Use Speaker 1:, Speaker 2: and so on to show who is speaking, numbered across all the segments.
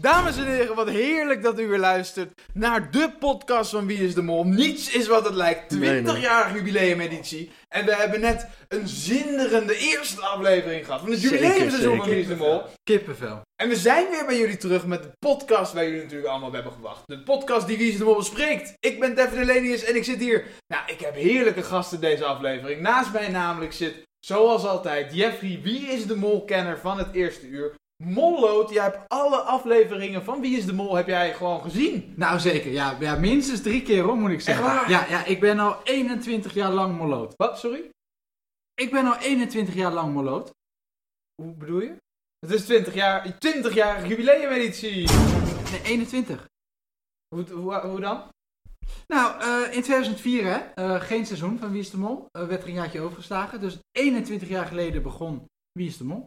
Speaker 1: Dames en heren, wat heerlijk dat u weer luistert naar de podcast van Wie is de Mol. Niets is wat het lijkt.
Speaker 2: Nee, nee.
Speaker 1: 20-jarig jubileumeditie. En we hebben net een zinderende eerste aflevering gehad van het
Speaker 2: Zeker,
Speaker 1: jubileumseizoen van Wie
Speaker 2: zeker.
Speaker 1: is de Mol.
Speaker 3: Kippenvel.
Speaker 1: En we zijn weer bij jullie terug met de podcast waar jullie natuurlijk allemaal op hebben gewacht. De podcast die Wie is de Mol bespreekt. Ik ben Devin Elenius en ik zit hier. Nou, ik heb heerlijke gasten deze aflevering. Naast mij namelijk zit, zoals altijd, Jeffrey, Wie is de Mol-kenner van het eerste uur. Molloot, jij hebt alle afleveringen van Wie is de Mol heb jij gewoon gezien.
Speaker 3: Nou zeker, ja, ja, minstens drie keer hoor, moet ik zeggen.
Speaker 1: Echt waar?
Speaker 3: Ja, ja, ik ben al 21 jaar lang moloot.
Speaker 1: Wat, sorry?
Speaker 3: Ik ben al 21 jaar lang moloot.
Speaker 1: Hoe bedoel je? Het is 20 jaar, 20 jaar jubileumeditie.
Speaker 3: Nee, 21.
Speaker 1: Hoe, hoe, hoe dan?
Speaker 3: Nou, eh, in 2004 hè, eh, geen seizoen van Wie is de Mol. Eh, werd er een jaartje overgeslagen. Dus 21 jaar geleden begon Wie is de Mol.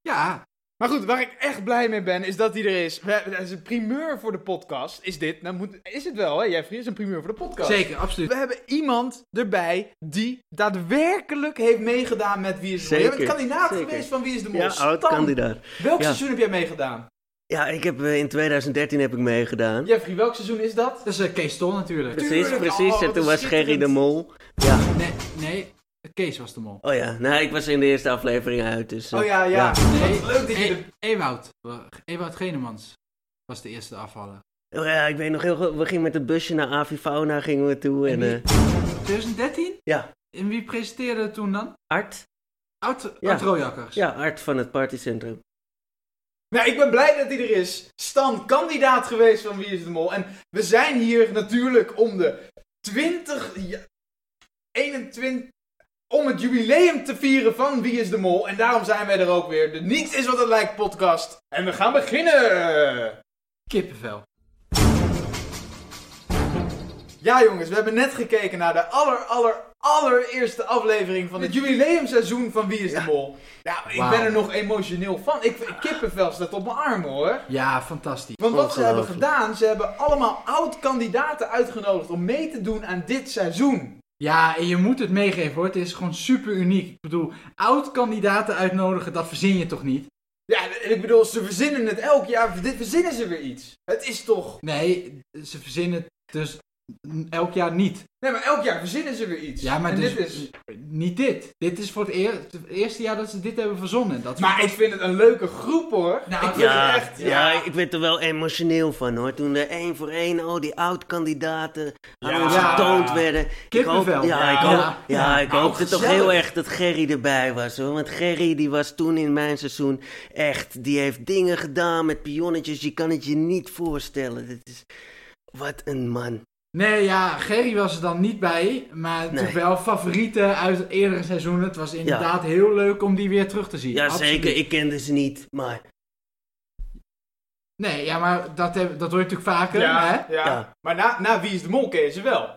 Speaker 3: Ja,
Speaker 1: Maar goed, waar ik echt blij mee ben, is dat hij er is. We, het is een primeur voor de podcast. Is dit? Nou moet, is het wel, hè, Jeffrey? Is een primeur voor de podcast.
Speaker 3: zeker, absoluut.
Speaker 1: We hebben iemand erbij die daadwerkelijk heeft meegedaan met Wie is de Mol. Je bent
Speaker 2: Zeker,
Speaker 1: kandidaat
Speaker 2: zeker.
Speaker 1: geweest van Wie is de Mol.
Speaker 2: Ja,
Speaker 1: Stan,
Speaker 2: oud-kandidaat.
Speaker 1: Welk
Speaker 2: Ja.
Speaker 1: seizoen heb jij meegedaan?
Speaker 2: Ja, ik heb, eh, in 2013 heb ik meegedaan.
Speaker 1: Jeffrey, welk seizoen is dat?
Speaker 3: Dat is eh, Kees Tol natuurlijk.
Speaker 2: precies,
Speaker 1: tuurlijk.
Speaker 2: precies.
Speaker 1: Oh,
Speaker 2: en
Speaker 1: wat
Speaker 2: toen was
Speaker 1: schitterend.
Speaker 2: Gerry de Mol. Ja,
Speaker 3: Nee, nee, Kees was de Mol.
Speaker 2: oh ja. Nou, ik was in de eerste aflevering uit, dus... eh,
Speaker 1: Oh ja, ja.
Speaker 3: Nee,
Speaker 1: Wat leuk dat je
Speaker 3: E-
Speaker 1: er-
Speaker 3: Ewout. eh, Ewout Genemans was de eerste afvaller.
Speaker 2: Oh ja, ik weet nog heel goed. We gingen met het busje naar Avifauna gingen we toe en...
Speaker 3: En
Speaker 2: eh,
Speaker 3: 2013?
Speaker 2: ja,
Speaker 3: En wie presenteerde het toen dan?
Speaker 2: Art.
Speaker 3: Oud,
Speaker 2: Ja.
Speaker 3: oud Rojakkers.
Speaker 2: Ja, Art van het partycentrum.
Speaker 1: Nou, ik ben blij dat hij er is. Stan, kandidaat geweest van Wie is de Mol. En we zijn hier natuurlijk om de 20... ja- 21... Om het jubileum te vieren van Wie is de Mol. En daarom zijn wij er ook weer. De Niets is wat het lijkt podcast. En we gaan beginnen!
Speaker 3: Kippenvel.
Speaker 1: Ja jongens, we hebben net gekeken naar de aller, aller, allereerste aflevering van het jubileumseizoen van Wie is de Mol. Nou, ik
Speaker 3: Wauw.
Speaker 1: ben er nog emotioneel van. Ik, kippenvel staat op mijn armen hoor.
Speaker 3: Ja, fantastisch.
Speaker 1: Want wat ze hebben
Speaker 2: Ongelooflijk.
Speaker 1: gedaan, ze hebben allemaal oud-kandidaten uitgenodigd om mee te doen aan dit seizoen.
Speaker 3: Ja, en je moet het meegeven hoor. Het is gewoon super uniek. Ik bedoel, oud kandidaten uitnodigen, dat verzin je toch niet?
Speaker 1: Ja, en ik bedoel, ze verzinnen het elk jaar, dit verzinnen ze weer iets. Het is toch...
Speaker 3: Nee, ze verzinnen het dus elk jaar niet.
Speaker 1: Nee, maar elk jaar verzinnen ze weer iets.
Speaker 3: Ja, maar
Speaker 1: en
Speaker 3: dus
Speaker 1: dit is...
Speaker 3: niet dit. Dit is voor het, eer- het eerste jaar dat ze dit hebben verzonnen. Dat is-
Speaker 1: Maar ik vind het een leuke groep hoor.
Speaker 3: Nou,
Speaker 1: ik vind
Speaker 2: Ja,
Speaker 1: het echt...
Speaker 2: ja. ik werd er wel emotioneel van hoor. Toen er één voor één, oh die oud-kandidaten aan
Speaker 1: Ja.
Speaker 2: ons getoond werden. Ik hoop, ja,
Speaker 3: Kippenvel. Ja.
Speaker 2: ik, hoop,
Speaker 3: Ja.
Speaker 2: ja, ik
Speaker 1: Nou,
Speaker 2: hoopte toch
Speaker 1: gezellig.
Speaker 2: heel erg dat Gerry erbij was hoor. Want Gerry die was toen in mijn seizoen echt, die heeft dingen gedaan met pionnetjes. Je kan het je niet voorstellen. Dit is, wat een man.
Speaker 3: Nee, ja, Gerry was er dan niet bij. Maar natuurlijk wel favorieten uit eerdere seizoenen. Het was inderdaad heel leuk om die weer terug te zien.
Speaker 2: Ja
Speaker 3: Absoluut.
Speaker 2: zeker, ik kende ze niet, maar
Speaker 3: Nee, ja, maar dat, heb, dat hoor je natuurlijk vaker.
Speaker 1: Ja,
Speaker 3: Hè?
Speaker 1: ja.
Speaker 2: Ja.
Speaker 1: Maar na, na Wie is de Mol ken je ze wel.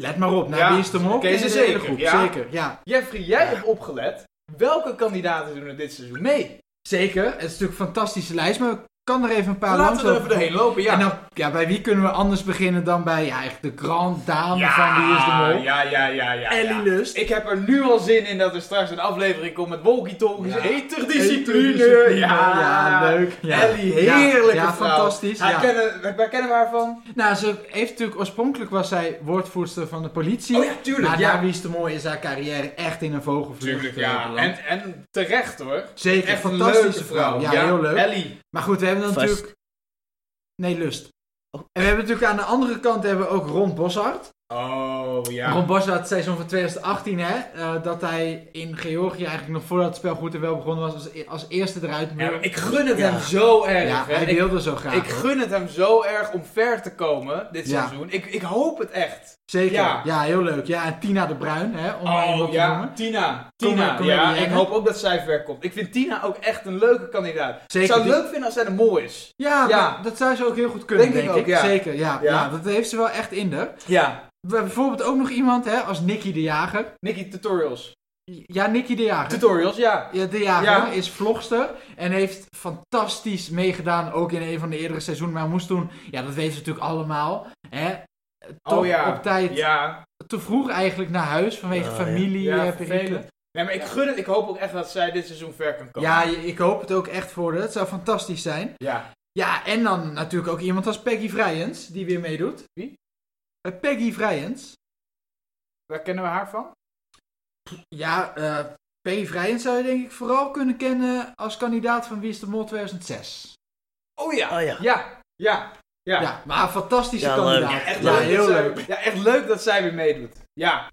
Speaker 3: Let maar op, nou,
Speaker 1: Ja,
Speaker 3: wie is de mol?
Speaker 1: oké, ze
Speaker 3: Ken je de
Speaker 1: zeker,
Speaker 3: hele groep?
Speaker 1: ja.
Speaker 3: Zeker, ja.
Speaker 1: Jeffrey, jij hebt opgelet. Welke kandidaten doen er dit seizoen mee?
Speaker 3: Zeker, het is natuurlijk een fantastische lijst, maar ik kan er even een paar
Speaker 1: Laten
Speaker 3: langs
Speaker 1: we er even doorheen lopen, ja.
Speaker 3: En dan, ja, bij wie kunnen we anders beginnen dan bij ja, echt de grand dame van Wie is de Mol?
Speaker 1: Ja, ja, ja, ja.
Speaker 3: Ellie
Speaker 1: ja.
Speaker 3: Lust.
Speaker 1: Ik heb er nu al zin in dat er straks een aflevering komt met walkie-talkies,
Speaker 3: Ja.
Speaker 1: eterdiscipline.
Speaker 3: Eterdiscipline,
Speaker 1: Ja.
Speaker 3: ja, leuk, ja.
Speaker 1: Ellie,
Speaker 3: Ja,
Speaker 1: heerlijke
Speaker 3: ja,
Speaker 1: vrouw.
Speaker 3: fantastisch,
Speaker 1: Haar
Speaker 3: ja.
Speaker 1: Kennen, waar- waar kennen we haar van?
Speaker 3: Nou, ze heeft natuurlijk, oorspronkelijk was zij woordvoerster van de politie.
Speaker 1: Oh ja, tuurlijk,
Speaker 3: Maar
Speaker 1: ja.
Speaker 3: na Wie is de Mol is haar carrière echt in een vogelvlucht eh, beland.
Speaker 1: En, en terecht hoor.
Speaker 3: Zeker,
Speaker 1: Echt een
Speaker 3: fantastische
Speaker 1: leuke vrouw.
Speaker 3: vrouw. Ja, heel leuk.
Speaker 1: Ellie.
Speaker 3: Maar goed, we hebben dan
Speaker 2: Vast.
Speaker 3: natuurlijk... Nee, lust.
Speaker 2: Oh.
Speaker 3: En we hebben natuurlijk aan de andere kant hebben we ook Ron Boshart.
Speaker 1: Oh, ja.
Speaker 3: Ron Boshart, het seizoen van 2018, hè. eh, dat hij in Georgië eigenlijk nog voordat het spel goed en wel begonnen was, als, e- als eerste eruit
Speaker 1: Ja,
Speaker 3: moest.
Speaker 1: maar ik gun het
Speaker 2: Ja.
Speaker 1: hem zo erg.
Speaker 3: Ja,
Speaker 1: hè.
Speaker 3: hij
Speaker 1: Ik-
Speaker 3: wilde zo graag.
Speaker 1: Ik
Speaker 3: hoor.
Speaker 1: gun het hem zo erg om ver te komen dit
Speaker 3: Ja.
Speaker 1: seizoen. Ik, ik hoop het echt.
Speaker 3: Zeker.
Speaker 1: ja. Oh,
Speaker 3: Ja. heel leuk. Ja, en Tina de Bruin, hè, om maar iemand te noemen.
Speaker 1: Tina.
Speaker 3: Kom
Speaker 1: Tina,
Speaker 3: maar, kom maar
Speaker 1: ja,
Speaker 3: die
Speaker 1: ik
Speaker 3: enge.
Speaker 1: hoop ook dat zij ver komt. Ik vind Tina ook echt een leuke kandidaat.
Speaker 3: Zeker,
Speaker 1: Ik zou het
Speaker 3: die-
Speaker 1: leuk vinden als zij de mol is.
Speaker 3: Ja,
Speaker 1: Ja.
Speaker 3: maar dat zou ze ook heel goed kunnen,
Speaker 1: Denk
Speaker 3: denk,
Speaker 1: ik ook,
Speaker 3: ik.
Speaker 1: ja.
Speaker 3: Zeker, ja,
Speaker 1: Ja.
Speaker 3: ja. Dat heeft ze wel echt in de.
Speaker 1: Ja.
Speaker 3: We hebben bijvoorbeeld ook nog iemand, hè, als Nicky de Jager.
Speaker 1: Nicky, tutorials.
Speaker 3: Ja, Nicky de Jager.
Speaker 1: Tutorials, ja.
Speaker 3: Ja, de jager
Speaker 1: Ja.
Speaker 3: is vlogster en heeft fantastisch meegedaan, ook in een van de eerdere seizoenen. Maar moest toen, ja, dat weten ze natuurlijk allemaal, hè, toch
Speaker 1: oh ja.
Speaker 3: op tijd
Speaker 1: Ja.
Speaker 3: te vroeg eigenlijk naar huis vanwege
Speaker 2: Oh, ja.
Speaker 3: familie
Speaker 1: Ja,
Speaker 3: eh,
Speaker 1: vervelend.
Speaker 3: perikelen.
Speaker 1: Nee, maar ik gun het. Ik hoop ook echt dat zij dit seizoen ver kan komen.
Speaker 3: Ja, je- ik hoop het ook echt voor haar. Het zou fantastisch zijn.
Speaker 1: Ja.
Speaker 3: Ja, en dan natuurlijk ook iemand als Peggy Vrijens, die weer meedoet.
Speaker 1: Wie?
Speaker 3: Eh, Peggy Vrijens.
Speaker 1: Waar kennen we haar van?
Speaker 3: Ja, eh, Peggy Vrijens zou je denk ik vooral kunnen kennen als kandidaat van Wie is de Mol 2006.
Speaker 1: Oh ja.
Speaker 2: Oh ja.
Speaker 1: Ja. Ja. Ja.
Speaker 3: Ja, maar een fantastische
Speaker 2: Ja, leuk.
Speaker 3: kandidaat.
Speaker 2: Ja,
Speaker 1: Echt
Speaker 3: ja,
Speaker 1: leuk
Speaker 3: heel
Speaker 1: dat zij-
Speaker 3: leuk.
Speaker 1: Ja, echt leuk dat zij weer meedoet. Ja.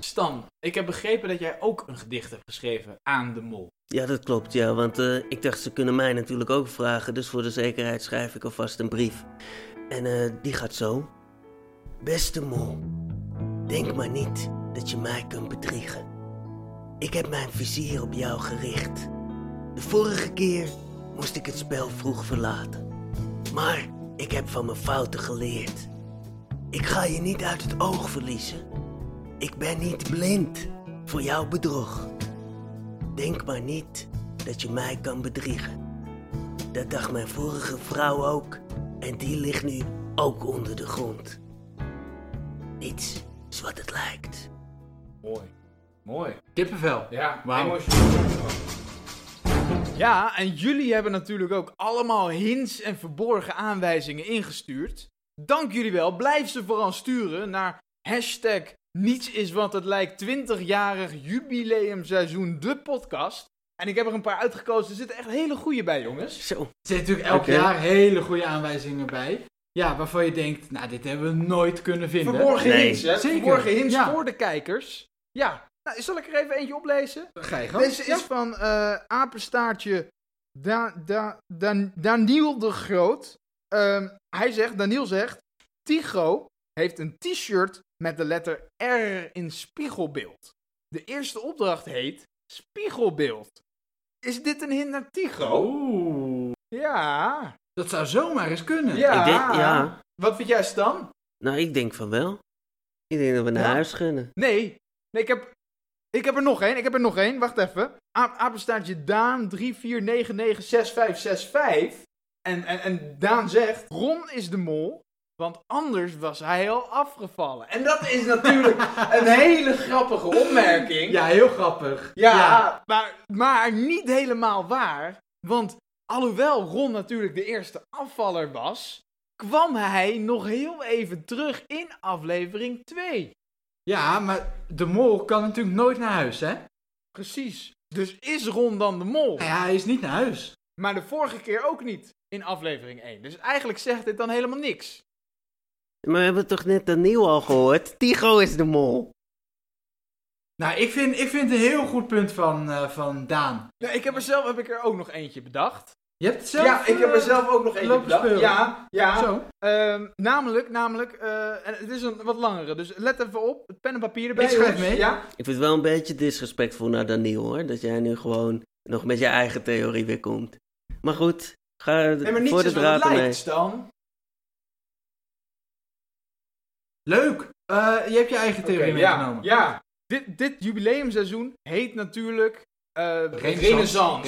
Speaker 1: Stan, ik heb begrepen dat jij ook een gedicht hebt geschreven aan de mol.
Speaker 2: Ja, dat klopt, ja. Want eh, ik dacht, ze kunnen mij natuurlijk ook vragen. Dus voor de zekerheid schrijf ik alvast een brief. En eh, die gaat zo. Beste mol, denk maar niet dat je mij kunt bedriegen. Ik heb mijn vizier op jou gericht. De vorige keer moest ik het spel vroeg verlaten. Maar ik heb van mijn fouten geleerd. Ik ga je niet uit het oog verliezen. Ik ben niet blind voor jouw bedrog. Denk maar niet dat je mij kan bedriegen. Dat dacht mijn vorige vrouw ook. En die ligt nu ook onder de grond. Niets is wat het lijkt.
Speaker 1: Mooi. Mooi.
Speaker 3: Kippenvel.
Speaker 1: Ja,
Speaker 3: Wauw.
Speaker 1: Ja, en jullie hebben natuurlijk ook allemaal hints en verborgen aanwijzingen ingestuurd. Dank jullie wel. Blijf ze vooral sturen naar hashtag niets is wat het lijkt 20-jarig jubileumseizoen de podcast. En ik heb er een paar uitgekozen. Er zitten echt hele goede bij, jongens.
Speaker 2: Zo.
Speaker 3: Er zitten natuurlijk elk
Speaker 2: Oké.
Speaker 3: jaar hele goede aanwijzingen bij. Ja, waarvan je denkt, nou dit hebben we nooit kunnen vinden.
Speaker 1: Verborgen
Speaker 2: Nee.
Speaker 1: hints, hè?
Speaker 3: Zeker.
Speaker 1: Verborgen hints
Speaker 3: Ja.
Speaker 1: voor de kijkers. Ja. Nou, zal ik er even eentje oplezen?
Speaker 3: Ga je gang.
Speaker 1: Deze is van eh, apenstaartje da, da, Dan- Daniel de Groot. Ehm, hij zegt, Daniel zegt, Tigo heeft een t-shirt met de letter R in spiegelbeeld. De eerste opdracht heet spiegelbeeld. Is dit een hint naar Tigo?
Speaker 3: Oeh,
Speaker 1: Ja.
Speaker 3: dat zou zomaar eens kunnen.
Speaker 1: ja.
Speaker 2: Ik denk, ja.
Speaker 1: Wat vind jij Stan?
Speaker 2: Nou, ik denk van wel. Ik denk dat we naar
Speaker 1: Ja.
Speaker 2: huis gunnen.
Speaker 1: Nee. Nee, ik heb, ik heb er nog één. Ik heb er nog één. Wacht even. A- Apenstaartje Daan 34996565. En, en, en Daan zegt, Ron is de mol, want anders was hij al afgevallen. En dat is natuurlijk een hele grappige opmerking.
Speaker 3: Ja, heel grappig.
Speaker 1: Ja, Maar, maar niet helemaal waar. Want alhoewel Ron natuurlijk de eerste afvaller was, kwam hij nog heel even terug in aflevering 2.
Speaker 3: Ja, maar de mol kan natuurlijk nooit naar huis, hè? Nou
Speaker 1: Precies. Dus is Ron dan de mol?
Speaker 3: ja, hij is niet naar huis.
Speaker 1: Maar de vorige keer ook niet in aflevering 1. Dus eigenlijk zegt dit dan helemaal niks.
Speaker 2: Maar we hebben toch net Daniel al gehoord? Tigo is de mol.
Speaker 3: Nou, ik vind, ik vind een heel goed punt van, eh, van Daan.
Speaker 1: Nou, ik heb er zelf heb ik er ook nog eentje bedacht.
Speaker 3: Je hebt het zelf... eh,
Speaker 1: ook nog
Speaker 3: lopen speuren.
Speaker 1: Ja, ja.
Speaker 3: Zo.
Speaker 1: Ehm, namelijk, namelijk, eh, en het is een wat langere, dus let even op. Het pen en papier erbij.
Speaker 3: Ik schrijf
Speaker 1: jongens.
Speaker 3: mee.
Speaker 1: Ja?
Speaker 2: Ik vind het wel een beetje disrespectvol naar Daniel hoor. Dat jij nu gewoon nog met je eigen theorie weer komt. Maar goed, ga
Speaker 1: Nee, maar niet
Speaker 2: voor de
Speaker 1: zoals het
Speaker 2: draad ermee.
Speaker 1: lijkt, Stan.
Speaker 3: Leuk. Eh, je hebt je eigen
Speaker 1: Oké,
Speaker 3: theorie
Speaker 1: ja,
Speaker 3: meegenomen.
Speaker 1: ja. Dit, dit jubileumseizoen heet natuurlijk eh,
Speaker 3: Renaissance.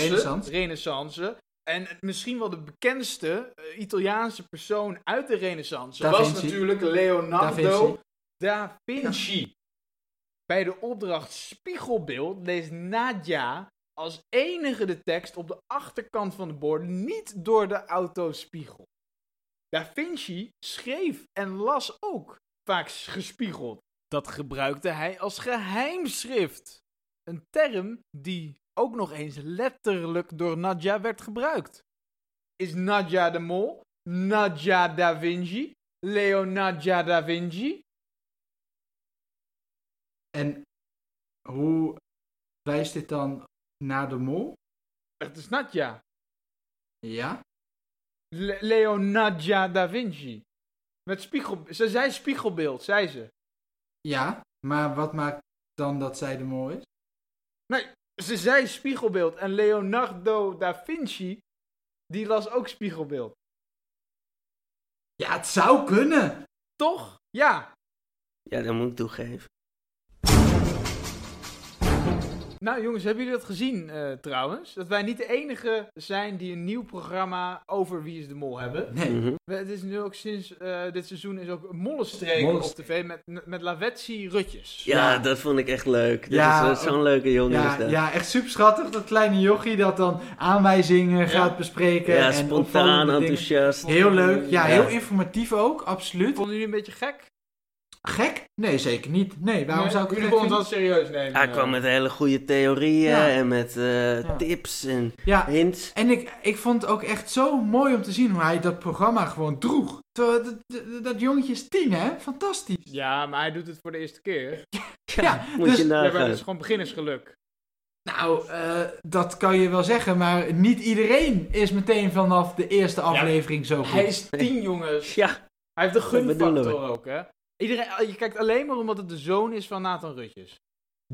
Speaker 1: Renaissance.
Speaker 3: Renaissance.
Speaker 1: Renaissance. En misschien wel de bekendste eh, Italiaanse persoon uit de Renaissance
Speaker 3: Da
Speaker 1: was
Speaker 3: Vinci.
Speaker 1: natuurlijk
Speaker 3: Da
Speaker 1: Leonardo
Speaker 3: Vinci.
Speaker 1: Da Vinci. Bij de opdracht Spiegelbeeld leest Nadia als enige de tekst op de achterkant van de borden niet door de autospiegel. Da Vinci schreef en las ook vaak s- gespiegeld. Dat gebruikte hij als geheimschrift. Een term die ook nog eens letterlijk door Nadia werd gebruikt. Is Nadia de Mol? Nadia da Vinci? Leonardo da Vinci?
Speaker 3: En hoe wijst dit dan naar de mol?
Speaker 1: Het is Nadja.
Speaker 3: Ja.
Speaker 1: Le Leo Nadja da Vinci. Met spiegel... Ze zei spiegelbeeld, zei ze.
Speaker 3: Ja, maar wat maakt dan dat zij de mol is?
Speaker 1: Nee, ze zei spiegelbeeld. En Leonardo da Vinci, die las ook spiegelbeeld.
Speaker 3: Ja, het zou kunnen.
Speaker 1: Toch? Ja.
Speaker 2: Ja, dat moet ik toegeven.
Speaker 1: Nou jongens, hebben jullie dat gezien eh, trouwens? Dat wij niet de enige zijn die een nieuw programma over Wie is de Mol hebben.
Speaker 3: Nee.
Speaker 2: Mhm.
Speaker 1: We- Het is nu ook sinds eh, dit seizoen is ook Mollenstreek op
Speaker 3: Mollenstreek.
Speaker 1: tv met, met Lavetsi Rutjes.
Speaker 2: Ja,
Speaker 3: Ja.
Speaker 2: dat vond ik echt leuk. Dat
Speaker 3: Ja,
Speaker 2: is eh, zo'n leuke jongen is
Speaker 3: Ja,
Speaker 2: dat.
Speaker 3: ja, echt super schattig dat kleine jochie dat dan aanwijzingen gaat bespreken.
Speaker 1: eh,
Speaker 2: Ja,
Speaker 3: en
Speaker 2: spontaan,
Speaker 3: opvallende dingen.
Speaker 2: enthousiast.
Speaker 3: Heel leuk, ja,
Speaker 2: Ja.
Speaker 3: heel informatief ook, absoluut.
Speaker 1: Vonden jullie een beetje gek?
Speaker 3: Gek? Nee, zeker niet. Nee, waarom
Speaker 1: Nee,
Speaker 3: zou ik het
Speaker 1: jullie
Speaker 3: gek
Speaker 1: konden het
Speaker 3: vinden?
Speaker 1: wel serieus nemen? eh.
Speaker 2: Hij kwam met hele goede theorieën
Speaker 3: Ja.
Speaker 2: en met eh,
Speaker 3: Ja.
Speaker 2: tips en
Speaker 3: Ja,
Speaker 2: hints.
Speaker 3: en ik, ik vond het ook echt zo mooi om te zien hoe hij dat programma gewoon droeg. Terwijl Dat, dat, dat jongetje is tien, hè? Fantastisch.
Speaker 1: Ja, maar hij doet het voor de eerste keer.
Speaker 2: Ja,
Speaker 3: ja,
Speaker 2: moet
Speaker 3: dus-
Speaker 2: je
Speaker 1: Ja, maar
Speaker 2: nagaan.
Speaker 1: dat is gewoon beginnersgeluk.
Speaker 3: Nou, eh, dat kan je wel zeggen, maar niet iedereen is meteen vanaf de eerste aflevering zo goed.
Speaker 1: Hij is tien jongens.
Speaker 2: Ja,
Speaker 1: Hij heeft de
Speaker 2: bedoelen
Speaker 1: gunfactor ook, hè? Iedereen, eh, je kijkt alleen maar omdat het de zoon is van Nathan Rutjes.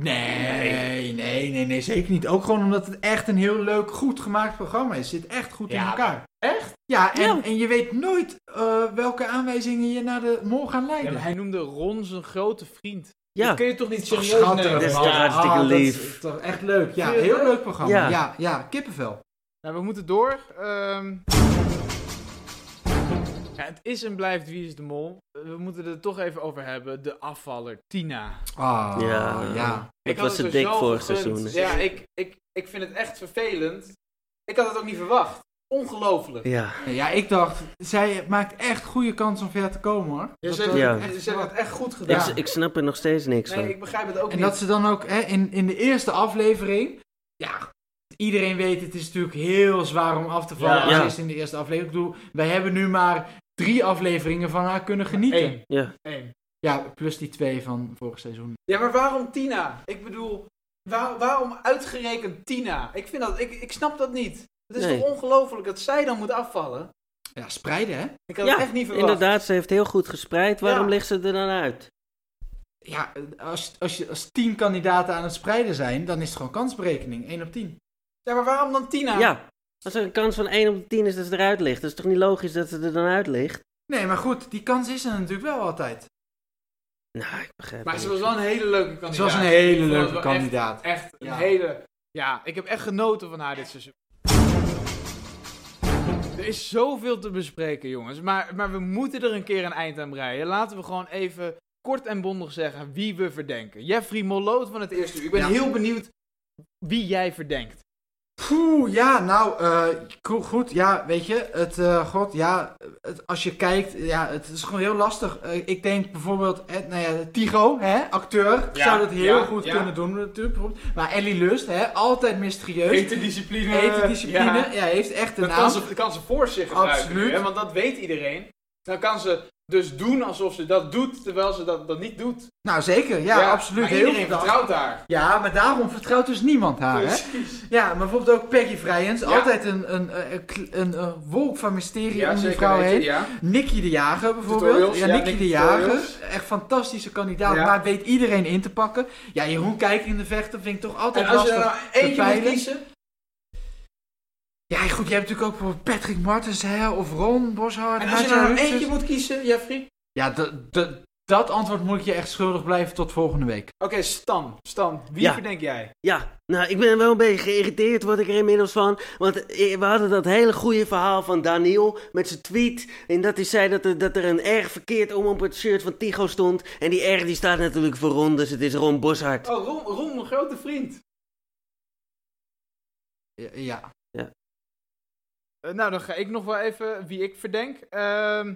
Speaker 3: Nee, nee, nee, nee, zeker niet. Ook gewoon omdat het echt een heel leuk, goed gemaakt programma is. Het zit echt goed in
Speaker 1: Ja,
Speaker 3: elkaar.
Speaker 1: Echt?
Speaker 3: Ja, en,
Speaker 2: Ja.
Speaker 3: en je weet nooit eh, welke aanwijzingen je naar de mol gaan leiden.
Speaker 1: hij noemde Ron zijn grote vriend.
Speaker 2: Ja.
Speaker 1: Dat kun je toch niet
Speaker 3: Toch
Speaker 1: serieus
Speaker 3: schattig,
Speaker 1: nemen?
Speaker 2: dat is
Speaker 1: man?
Speaker 2: toch
Speaker 1: Ja.
Speaker 2: hartstikke
Speaker 3: Ah, dat is
Speaker 2: lief.
Speaker 3: toch echt leuk. Ja,
Speaker 1: Vind je het
Speaker 3: heel
Speaker 1: leuk?
Speaker 3: leuk programma. Ja,
Speaker 2: Ja.
Speaker 3: ja, kippenvel.
Speaker 1: Nou, we moeten door. Ehm, Ja, het is en blijft Wie is de Mol. We moeten het er toch even over hebben. De afvaller, Tina.
Speaker 3: Ah, ja.
Speaker 2: Ja.
Speaker 1: Ik
Speaker 2: ik
Speaker 1: had
Speaker 2: was
Speaker 1: het
Speaker 2: het
Speaker 1: er
Speaker 2: dik
Speaker 1: zo
Speaker 2: vorig
Speaker 1: gegund.
Speaker 2: seizoen.
Speaker 1: Ja, ik, ik, ik vind het echt vervelend. Ik had het ook niet verwacht. Ongelooflijk.
Speaker 2: Ja,
Speaker 3: Ja, ik dacht, zij maakt echt goede kans om ver te komen hoor.
Speaker 1: Ja, Dus
Speaker 3: Dat
Speaker 1: ze,
Speaker 3: had
Speaker 1: hebben,
Speaker 2: Ja.
Speaker 3: ik
Speaker 1: het-
Speaker 3: echt
Speaker 1: ze hebben het echt goed
Speaker 2: Ik,
Speaker 1: gedaan.
Speaker 2: s- ik snap er nog steeds niks
Speaker 1: Nee,
Speaker 2: van.
Speaker 1: ik begrijp het ook
Speaker 3: En
Speaker 1: niet.
Speaker 3: dat ze dan ook hè, in, in de eerste aflevering. Ja, iedereen weet, het is natuurlijk heel zwaar om af te vallen.
Speaker 1: Ja.
Speaker 3: als
Speaker 2: Ja.
Speaker 3: eerste in de eerste aflevering. Ik bedoel, wij hebben nu maar drie afleveringen van haar kunnen genieten.
Speaker 1: Eén.
Speaker 2: Ja.
Speaker 1: Eén.
Speaker 3: Ja, plus die twee van vorig seizoen.
Speaker 1: Ja, maar waarom Tina? Ik bedoel, waar- waarom uitgerekend Tina? Ik, vind dat, ik, ik snap dat niet. Het is
Speaker 2: Nee.
Speaker 1: toch ongelooflijk dat zij dan moet afvallen?
Speaker 3: Ja, spreiden hè?
Speaker 1: Ik had
Speaker 2: Ja,
Speaker 1: het echt niet verwacht.
Speaker 2: Inderdaad, ze heeft heel goed gespreid. Waarom
Speaker 1: Ja.
Speaker 2: ligt ze er dan uit?
Speaker 3: Ja, als, als, je, als tien kandidaten aan het spreiden zijn, dan is het gewoon kansberekening. 1 op 10.
Speaker 1: Ja, maar waarom dan Tina?
Speaker 2: Ja, als er een kans van 1 op de 10 is dat ze eruit ligt, dat is toch niet logisch dat ze er dan uit ligt?
Speaker 3: Nee, maar goed, die kans is er natuurlijk wel altijd.
Speaker 2: Nou, ik begrijp
Speaker 1: Maar
Speaker 2: het
Speaker 1: ze
Speaker 2: niet.
Speaker 1: was wel een hele leuke kandidaat.
Speaker 3: Ze was een hele
Speaker 1: vond het
Speaker 3: leuke
Speaker 1: wel echt-
Speaker 3: kandidaat.
Speaker 1: Echt een
Speaker 3: Ja.
Speaker 1: hele... Ja, ik heb echt genoten van haar dit seizoen. Er is zoveel te bespreken, jongens. Maar, maar we moeten er een keer een eind aan breien. Laten we gewoon even kort en bondig zeggen wie we verdenken. Jeffrey Molloot van het eerste uur. Ik ben
Speaker 3: Ja.
Speaker 1: heel benieuwd wie jij verdenkt.
Speaker 3: Poeh, ja, nou, eh, go- goed, ja, weet je, het, eh, god, ja, het, als je kijkt, ja, het is gewoon heel lastig. Eh, ik denk bijvoorbeeld, eh, nou ja, Tigo, hè, acteur,
Speaker 1: Ja,
Speaker 3: zou dat heel
Speaker 1: ja,
Speaker 3: goed
Speaker 1: ja.
Speaker 3: kunnen doen natuurlijk. bijvoorbeeld. Maar Ellie Lust, hè, altijd mysterieus, eten,
Speaker 1: discipline.
Speaker 3: discipline, ja. heeft echt een
Speaker 1: Dat
Speaker 3: naam.
Speaker 1: kan ze, kan ze voor zich gebruiken,
Speaker 3: Absoluut.
Speaker 1: nu, hè, want dat weet iedereen. Dan kan ze dus doen alsof ze dat doet, terwijl ze dat, dat niet doet.
Speaker 3: Nou, zeker, ja, absoluut.
Speaker 1: Maar
Speaker 3: heel
Speaker 1: iedereen
Speaker 3: verdacht.
Speaker 1: vertrouwt haar.
Speaker 3: Ja, maar daarom vertrouwt dus niemand haar, hè.
Speaker 1: Precies.
Speaker 3: Ja, maar bijvoorbeeld ook Peggy Vrijens,
Speaker 1: Ja.
Speaker 3: altijd een, een, eh, een, kl- een, eh, wolk van mysterie
Speaker 1: Ja,
Speaker 3: om die
Speaker 1: zeker
Speaker 3: vrouw
Speaker 1: weten,
Speaker 3: heen.
Speaker 1: ja.
Speaker 3: Nicky de Jager bijvoorbeeld.
Speaker 1: Tutorials,
Speaker 3: ja,
Speaker 1: ja,
Speaker 3: Nicky
Speaker 1: Nicky
Speaker 3: de Jager.
Speaker 1: tutorials.
Speaker 3: Echt fantastische kandidaat,
Speaker 1: Ja.
Speaker 3: maar weet iedereen in te pakken. Ja, Jeroen Kijker in de vechten vind ik toch altijd
Speaker 1: En als je er
Speaker 3: lastig.
Speaker 1: nou eentje moet
Speaker 3: peilen.
Speaker 1: kiezen...
Speaker 3: Ja, goed, je hebt natuurlijk ook bijvoorbeeld Patrick Martens hè, of Ron Boshart.
Speaker 1: En als je er
Speaker 3: Nadja
Speaker 1: nou
Speaker 3: Hutchins.
Speaker 1: eentje moet kiezen, Jeffrey...
Speaker 3: Ja, dat- dat- dat antwoord moet ik je echt schuldig blijven tot volgende week.
Speaker 1: Oké, Stan. Stan, wie
Speaker 2: Ja.
Speaker 1: verdenk jij?
Speaker 2: Ja, nou, ik ben wel een beetje geïrriteerd, word ik er inmiddels van. Want eh, we hadden dat hele goede verhaal van Daniel met zijn tweet. En dat hij zei dat er, dat er een R verkeerd om op het shirt van Tigo stond. En die R die staat natuurlijk voor Ron, dus het is Ron Boshart.
Speaker 1: Oh, Ron, Ron mijn grote vriend.
Speaker 3: Ja, Ja.
Speaker 1: Eh, nou, dan ga ik nog wel even wie ik verdenk. Ehm,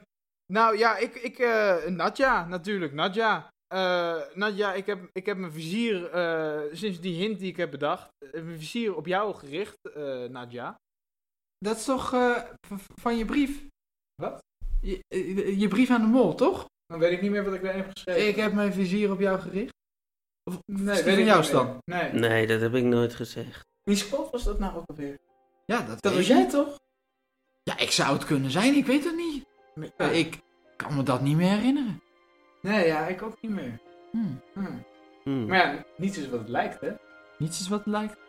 Speaker 1: nou ja, ik, ik eh, Nadja, natuurlijk, Nadja. Eh, Nadja, ik heb, ik heb mijn vizier, eh, sinds die hint die ik heb bedacht, eh, mijn vizier op jou gericht, eh, Nadja.
Speaker 3: Dat is toch eh, v- van je brief?
Speaker 1: Wat?
Speaker 3: Je, eh, je brief aan de mol, toch?
Speaker 1: Dan weet ik niet meer wat ik daarin heb geschreven.
Speaker 3: Ik heb mijn vizier op jou gericht. Of,
Speaker 1: nee,
Speaker 3: is
Speaker 1: weet
Speaker 3: die
Speaker 1: ik
Speaker 3: van jou,
Speaker 1: niet meer.
Speaker 3: Stan?
Speaker 1: Nee.
Speaker 2: Nee, dat heb ik nooit gezegd.
Speaker 1: Wie schoof was dat nou ook alweer?
Speaker 3: Ja, dat,
Speaker 1: Dat
Speaker 3: weet
Speaker 1: was
Speaker 3: ik.
Speaker 1: jij toch?
Speaker 3: Ja, ik zou het kunnen zijn, ik weet het niet.
Speaker 1: Ja.
Speaker 3: Ik kan me dat niet meer herinneren.
Speaker 1: Nee, ja, ik ook niet meer.
Speaker 3: Hmm.
Speaker 1: Hm.
Speaker 2: Hm.
Speaker 1: Maar ja, niets is wat het lijkt, hè?
Speaker 3: Niets is wat het lijkt.